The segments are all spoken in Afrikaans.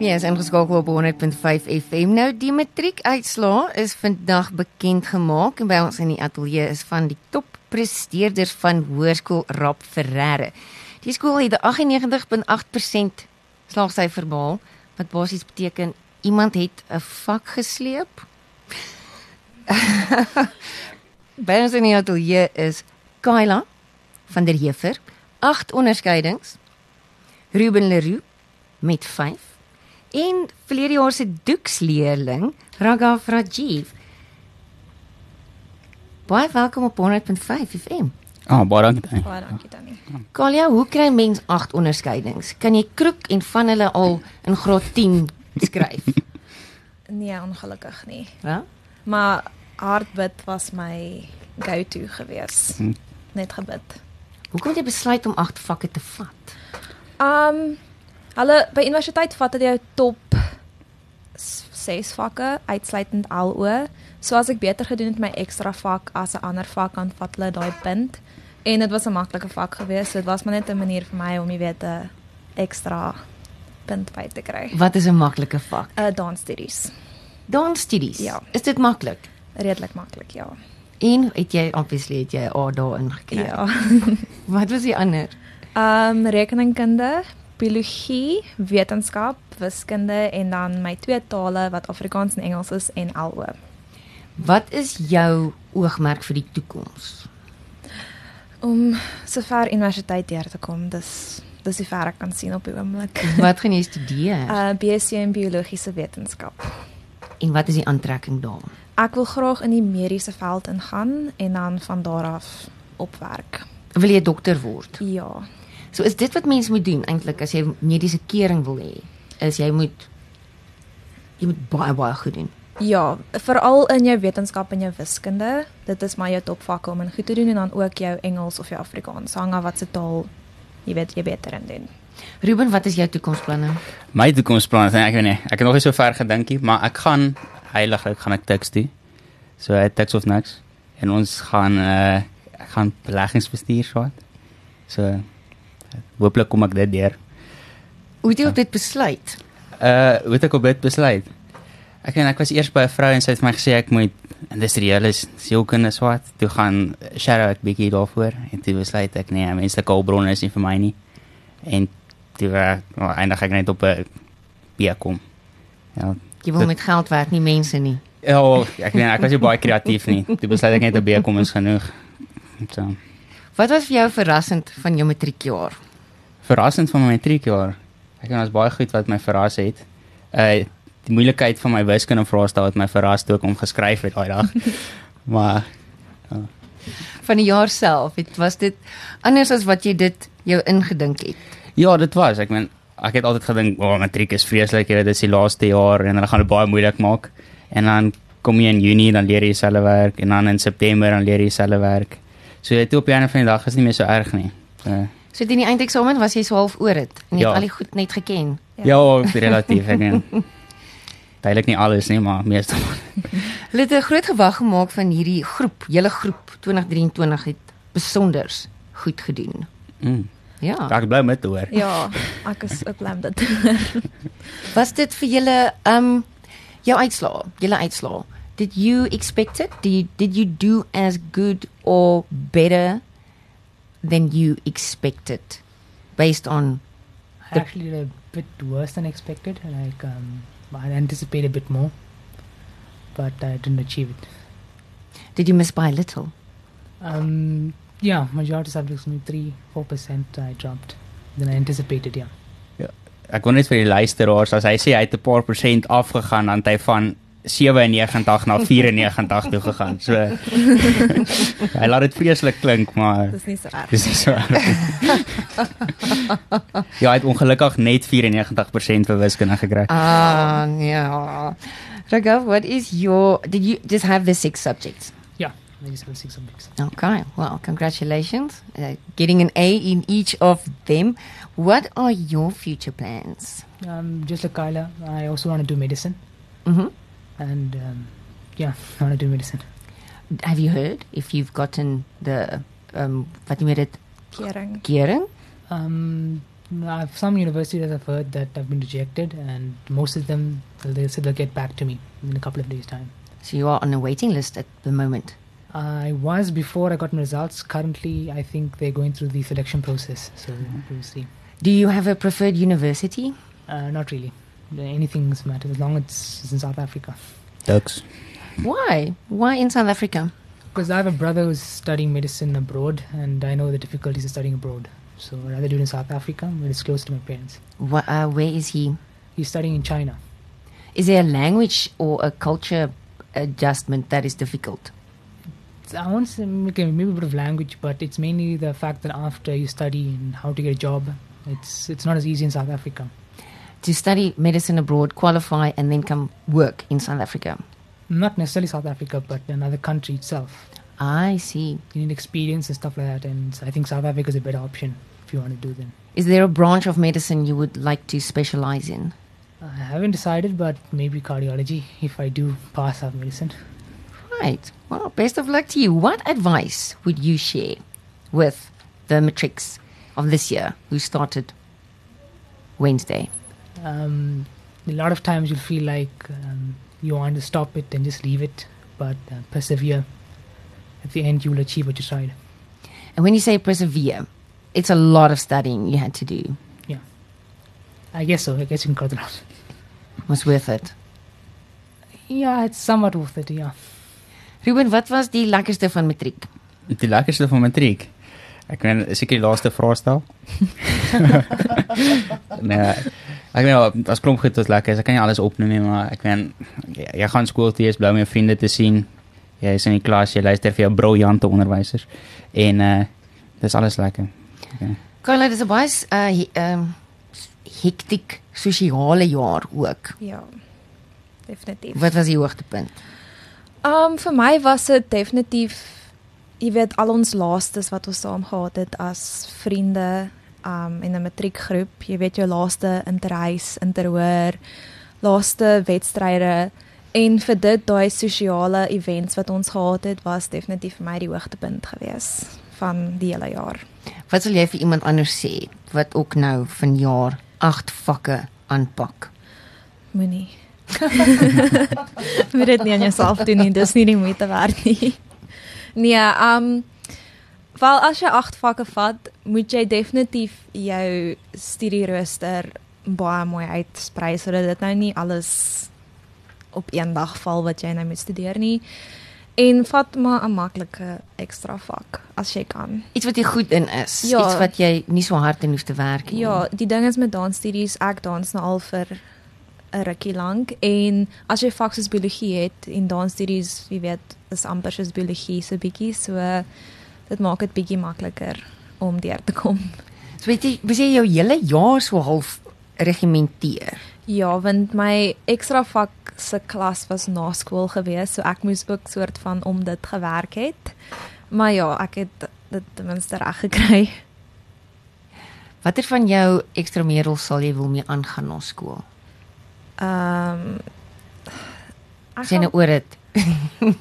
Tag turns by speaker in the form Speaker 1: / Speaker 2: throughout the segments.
Speaker 1: Jy Nee, is ingeskakel op 100.5 FM. Nou die matriekuitslae is vandag bekend gemaak en by ons in die ateljee is van die toppresteerders van Hoërskool Rap Ferreira. Die skool het 'n 98.8% slaagsyfer behaal wat basies beteken iemand het 'n vak gesleep. by ons in die ateljee is Kyla van der Heever, agt onderskeidings. Ruben Leroux met 5 en verlede jaar se doeksleerling Raghav Rajiv. Baie welkom op 100.5 FM.
Speaker 2: Ah, baie dankie Tannie.
Speaker 3: Baie dankie Tannie.
Speaker 1: Kalia, hoe kry mens agt onderskeidings? Kan jy kroek en van hulle al in graad 10 skryf?
Speaker 3: Nee, ongelukkig nie.
Speaker 1: Ja?
Speaker 3: Maar hardbid was my go-to gewees. Net gebid.
Speaker 1: Hoekom het jy besluit om agt vakke te vat?
Speaker 3: Um hulle by universiteit vat hulle jou top 6 vakke uitsluitend LO. So as ek beter gedoen het my ekstra vak as 'n ander vak dan vat hulle daai punt. En dit was 'n maklike vak geweest. So dit was maar net 'n manier vir my om jy weet 'n ekstra punt by te kry.
Speaker 1: Wat is 'n maklike vak?
Speaker 3: Uh dansstudies.
Speaker 1: Dansstudies.
Speaker 3: Ja.
Speaker 1: Is dit maklik?
Speaker 3: Redelik maklik, ja.
Speaker 1: En het jy obviously het jy 'n A daarin gekry.
Speaker 3: Ja.
Speaker 1: Wat was die ander?
Speaker 3: Ehm um, rekeningkunde, biologie, wetenskap, wiskunde en dan my twee tale wat Afrikaans en Engels is en LO.
Speaker 1: Wat is jou oogmerk vir die toekoms?
Speaker 3: Om sover universiteit deur te kom, dis dis die ver ek kan sien op die oomblik.
Speaker 1: Wat gaan jy studeer?
Speaker 3: Uh BSc in biologiese wetenskap.
Speaker 1: En wat is die aantrekking daarvan?
Speaker 3: Ek wil graag in die mediese veld ingaan en dan van daar af opwerk.
Speaker 1: Wil jy dokter word?
Speaker 3: Ja.
Speaker 1: So is dit wat mense moet doen eintlik as jy mediese kering wil hê. Is jy moet jy moet baie baie goed doen.
Speaker 3: Ja, veral in jou wetenskap en jou wiskunde. Dit is maar jou topvakke om in goed te doen en dan ook jou Engels of jou Afrikaans, hang af wat se taal jy weet jy beter in doen.
Speaker 1: Ruben, wat is jou toekomsplanne?
Speaker 2: My toekomsplan is nee, ek weet nie. Ek het nog nie so ver gedink nie, maar ek gaan heiliglik gaan ek teks doen. So ek teks of niks. En ons gaan eh ek gaan beleggingsbestuur swaat. So hooplik kom ek dit deur.
Speaker 1: Hoe het jy op dit besluit?
Speaker 2: Uh weet ek op dit besluit. Ek en ek was eers by 'n vrou en sy het vir my gesê ek moet industriële sielkunde swaat. Toe gaan shadow ek bietjie daarvoor en toe besluit ek nee, menslike hulpbronne is nie vir my nie. En toe uh, eindig ek net op 'n B kom. Ja.
Speaker 1: Jy wil met geld werk, nie mense nie.
Speaker 2: Ja, wel, ek weet ek was nie baie kreatief nie. Toe besluit ek net 'n B kom is genoeg. So.
Speaker 1: Wat was vir jou verrassend van jou matriekjaar?
Speaker 2: verrassend van my matriekjaar. Ek het ons baie goed wat my verras het. Uh die moeilikheid van my wiskunde vraestel het my verras toe ek hom geskryf het daai dag. maar
Speaker 1: Van die jaar self, het was dit anders as wat jy dit jou ingedink het.
Speaker 2: ja, dit was. Ek meen ek het altyd gedink, "O, oh, matriek is vreeslik, jy weet, dit is die laaste jaar en hulle gaan dit baie moeilik maak." En dan kom jy in Junie dan leer jy dieselfde werk en dan in September dan leer jy dieselfde werk. So toe op 'n of ander dag is nie meer so erg nie. Uh,
Speaker 1: So teen die eindeksamen was jy so half oor dit en jy
Speaker 2: Ja.
Speaker 1: het al die goed net geken.
Speaker 2: ja, ja relatief ek meen. Duidelik nie alles nie, maar meestal.
Speaker 1: Hulle het 'n groot gewag gemaak van hierdie groep, hele groep 2023 het besonder goed gedoen.
Speaker 2: Mm.
Speaker 1: Ja.
Speaker 2: Ek bly met hoor.
Speaker 3: Ja, ek is ook bly met dit.
Speaker 1: Was dit vir julle um jou uitslaa, julle uitslaa? Did you expect it? Did you, did you do as good or better than you expected based on
Speaker 4: actually a bit worse than expected. Like um, I anticipated a bit more, but I didn't achieve it.
Speaker 1: did you miss by a little?
Speaker 4: Um, yeah, majority subjects, maybe three, four percent. I dropped than I anticipated. Yeah.
Speaker 2: ek wil net vir die luisteraars as hy sê hy het 'n paar persent afgegaan dan het hy van 97 na 94 toe gegaan. So hy laat dit vreeslik klink, maar
Speaker 3: Dis nie so erg.
Speaker 2: dis nie so. erg. ja, hy het ongelukkig net 94% vir wiskunde gekry.
Speaker 1: Ah, yeah. Raghav, what is your did you just have the six subjects?
Speaker 4: Yeah, I just have six subjects.
Speaker 1: Okay, well, congratulations. Uh, getting an A in each of them. What are your future plans?
Speaker 4: Um, just like Kyla, I also want to do medicine,
Speaker 1: hmm
Speaker 4: and um, yeah, I want to do medicine.
Speaker 1: Have you heard if you've gotten the, um, wat noem jy dit,
Speaker 3: Kering.
Speaker 1: kering?
Speaker 4: Um, Uh, some universities I've heard that have been rejected, and most of them they said they'll get back to me in a couple of days' time.
Speaker 1: So you are on a waiting list at the moment.
Speaker 4: I was before I got my results. Currently, I think they're going through the selection process, so we'll see.
Speaker 1: Do you have a preferred university?
Speaker 4: Uh, not really. Anything matters as long as it's, it's in South Africa.
Speaker 2: Ducks.
Speaker 1: Why? Why in South Africa?
Speaker 4: Because I have a brother who's studying medicine abroad, and I know the difficulties of studying abroad. So I'd rather do it in South Africa when it's close to my parents.
Speaker 1: Wha uh, where is he?
Speaker 4: He's studying in China.
Speaker 1: Is there a language or a culture adjustment that is difficult?
Speaker 4: It's- I want to say okay, maybe a bit of language, but it's mainly the fact that after you study and how to get a job, it's it's not as easy in South Africa.
Speaker 1: To study medicine abroad, qualify, and then come work in South Africa.
Speaker 4: Not necessarily South Africa, but another country itself.
Speaker 1: I see.
Speaker 4: You need experience and stuff like that, and I think South Africa is a better option if you want to do that.
Speaker 1: Is there a branch of medicine you would like to specialize in?
Speaker 4: I haven't decided, but maybe cardiology if I do pass out medicine.
Speaker 1: Right. Well, best of luck to you. What advice would you share with the matrix of this year who started Wednesday?
Speaker 4: Um, a lot of times you'll feel like um, you want to stop it and just leave it, but uh, persevere. At the end, you will achieve what you tried.
Speaker 1: And when you say persevere, it's a lot of studying you had to do.
Speaker 4: I guess so. I guess you can cut it out.
Speaker 1: Was worth it.
Speaker 4: Yeah, it's somewhat worth it. Yeah.
Speaker 1: Ruben, wat was die lekkerste van matriek?
Speaker 2: Die lekkerste van matriek. Ek meen seker die laaste vraestel. nee. Ek meen as klomp goed wat lekker is. Ek kan nie alles opnoem nie, maar ek meen jy, jy gaan skool toe, jy's bly om jou vriende te sien. Jy is in die klas, jy luister vir jou briljante onderwysers en uh dis alles lekker. Ja.
Speaker 1: Carla, dis 'n baie s- uh he- um, s- hektiek sosiale jaar ook.
Speaker 3: Ja. Definitief.
Speaker 1: Wat was die hoogtepunt?
Speaker 3: Um vir my was dit definitief jy weet al ons laastes wat ons saam gehad het as vriende um in 'n matriekgroep, jy weet jou laaste interreis, interhoor, laaste wedstryde en vir dit daai sosiale events wat ons gehad het was definitief vir my die hoogtepunt gewees van die hele jaar.
Speaker 1: Wat sal jy vir iemand anders sê wat ook nou vanjaar 8 vakke aanpak?
Speaker 3: Moenie Moet dit nie aan jouself doen nie. Dis nie die moeite werd nie. Nee, um wel as jy 8 vakke vat, moet jy definitief jou studierooster baie mooi uitsprei sodat dit nou nie alles op een dag val wat jy nou moet studeer nie. En vat maar 'n maklike ekstra vak as jy kan.
Speaker 1: Iets wat jy goed in is,
Speaker 3: Ja.
Speaker 1: iets wat jy nie so hard in hoef te werk nie.
Speaker 3: Ja, die ding is met dansstudies, ek dans nou al vir 'n rukkie lank en as jy vak soos biologie het en dansstudies, jy weet, is amper soos biologie so bietjie, so dit maak dit bietjie makliker om deur te kom.
Speaker 1: So weet jy, mens jy jou hele jaar so half regimenteer.
Speaker 3: Ja, want my ekstra vak se klas was na skool gewees, so ek moes ook soort van om dit gewerk het. Maar ja, ek het dit ten minste reg gekry.
Speaker 1: Watter van jou ekstrameerels sal jy wil mee aangaan na skool?
Speaker 3: Ehm um, ek
Speaker 1: Sien
Speaker 3: gaan-
Speaker 1: nou oor dit.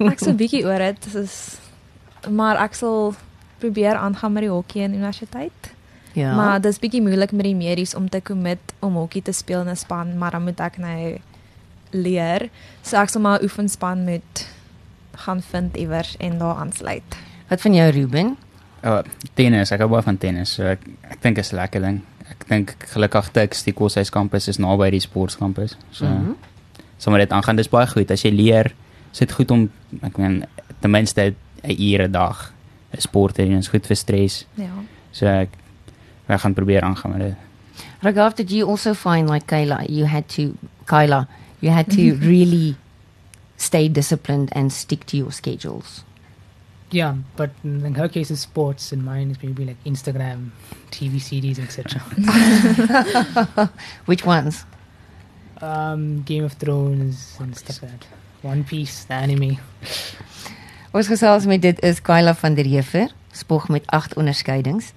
Speaker 3: Ek so 'n bietjie oor dit, soos maar ek sal probeer aangaan met die hokkie in universiteit.
Speaker 1: Ja.
Speaker 3: Ja. Maar dis bietjie moeilik met die medies om te commit om hokkie te speel in 'n span, maar dan moet ek nou leer. So ek sal maar 'n oefenspan moet gaan vind iewers en daar aansluit.
Speaker 1: wat van jou Ruben?
Speaker 2: Uh tennis, ek hou baie van tennis. So ek ek dink is 'n lekker ding. Ek dink gelukkig Tuks, die Koshuis kampus is naby die sportkampus. So mm
Speaker 1: Mhm.
Speaker 2: -hmm. sommer dit aangaan dis baie goed. As jy leer, is dit goed om ek meen ten minste 'n uur 'n dag 'n sport te doen. Is goed vir stres.
Speaker 3: Ja.
Speaker 2: So ek ek gaan probeer aangaan met dit.
Speaker 1: Ragav, did you also find like Kayla, you had to Kayla, you had to really stay disciplined and stick to your schedules.
Speaker 4: Yeah, but in her case is sports, in mine is maybe like Instagram, TV series, etc.
Speaker 1: Which ones?
Speaker 4: um, Game of Thrones and stuff like that. One Piece, the anime.
Speaker 1: Ons gesels met dit is Kayla van der Heever, spog met 8 onderskeidings.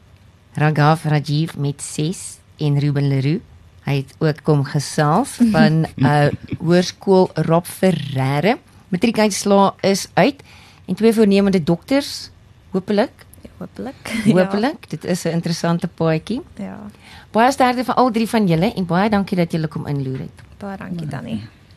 Speaker 1: Ragav Rajiv met 6 en Ruben Leroux. Hy het ook kom gesels van uh hoërskool Rob Ferreira. Matriekuitslae is uit en twee voornemende dokters hopelik
Speaker 3: hopelik.
Speaker 1: Hoopelik, dit is 'n interessante paadjie.
Speaker 3: Ja. ja.
Speaker 1: Baie sterkte vir al drie van julle en baie dankie dat julle kom inloer het.
Speaker 3: Baie dankie Tannie.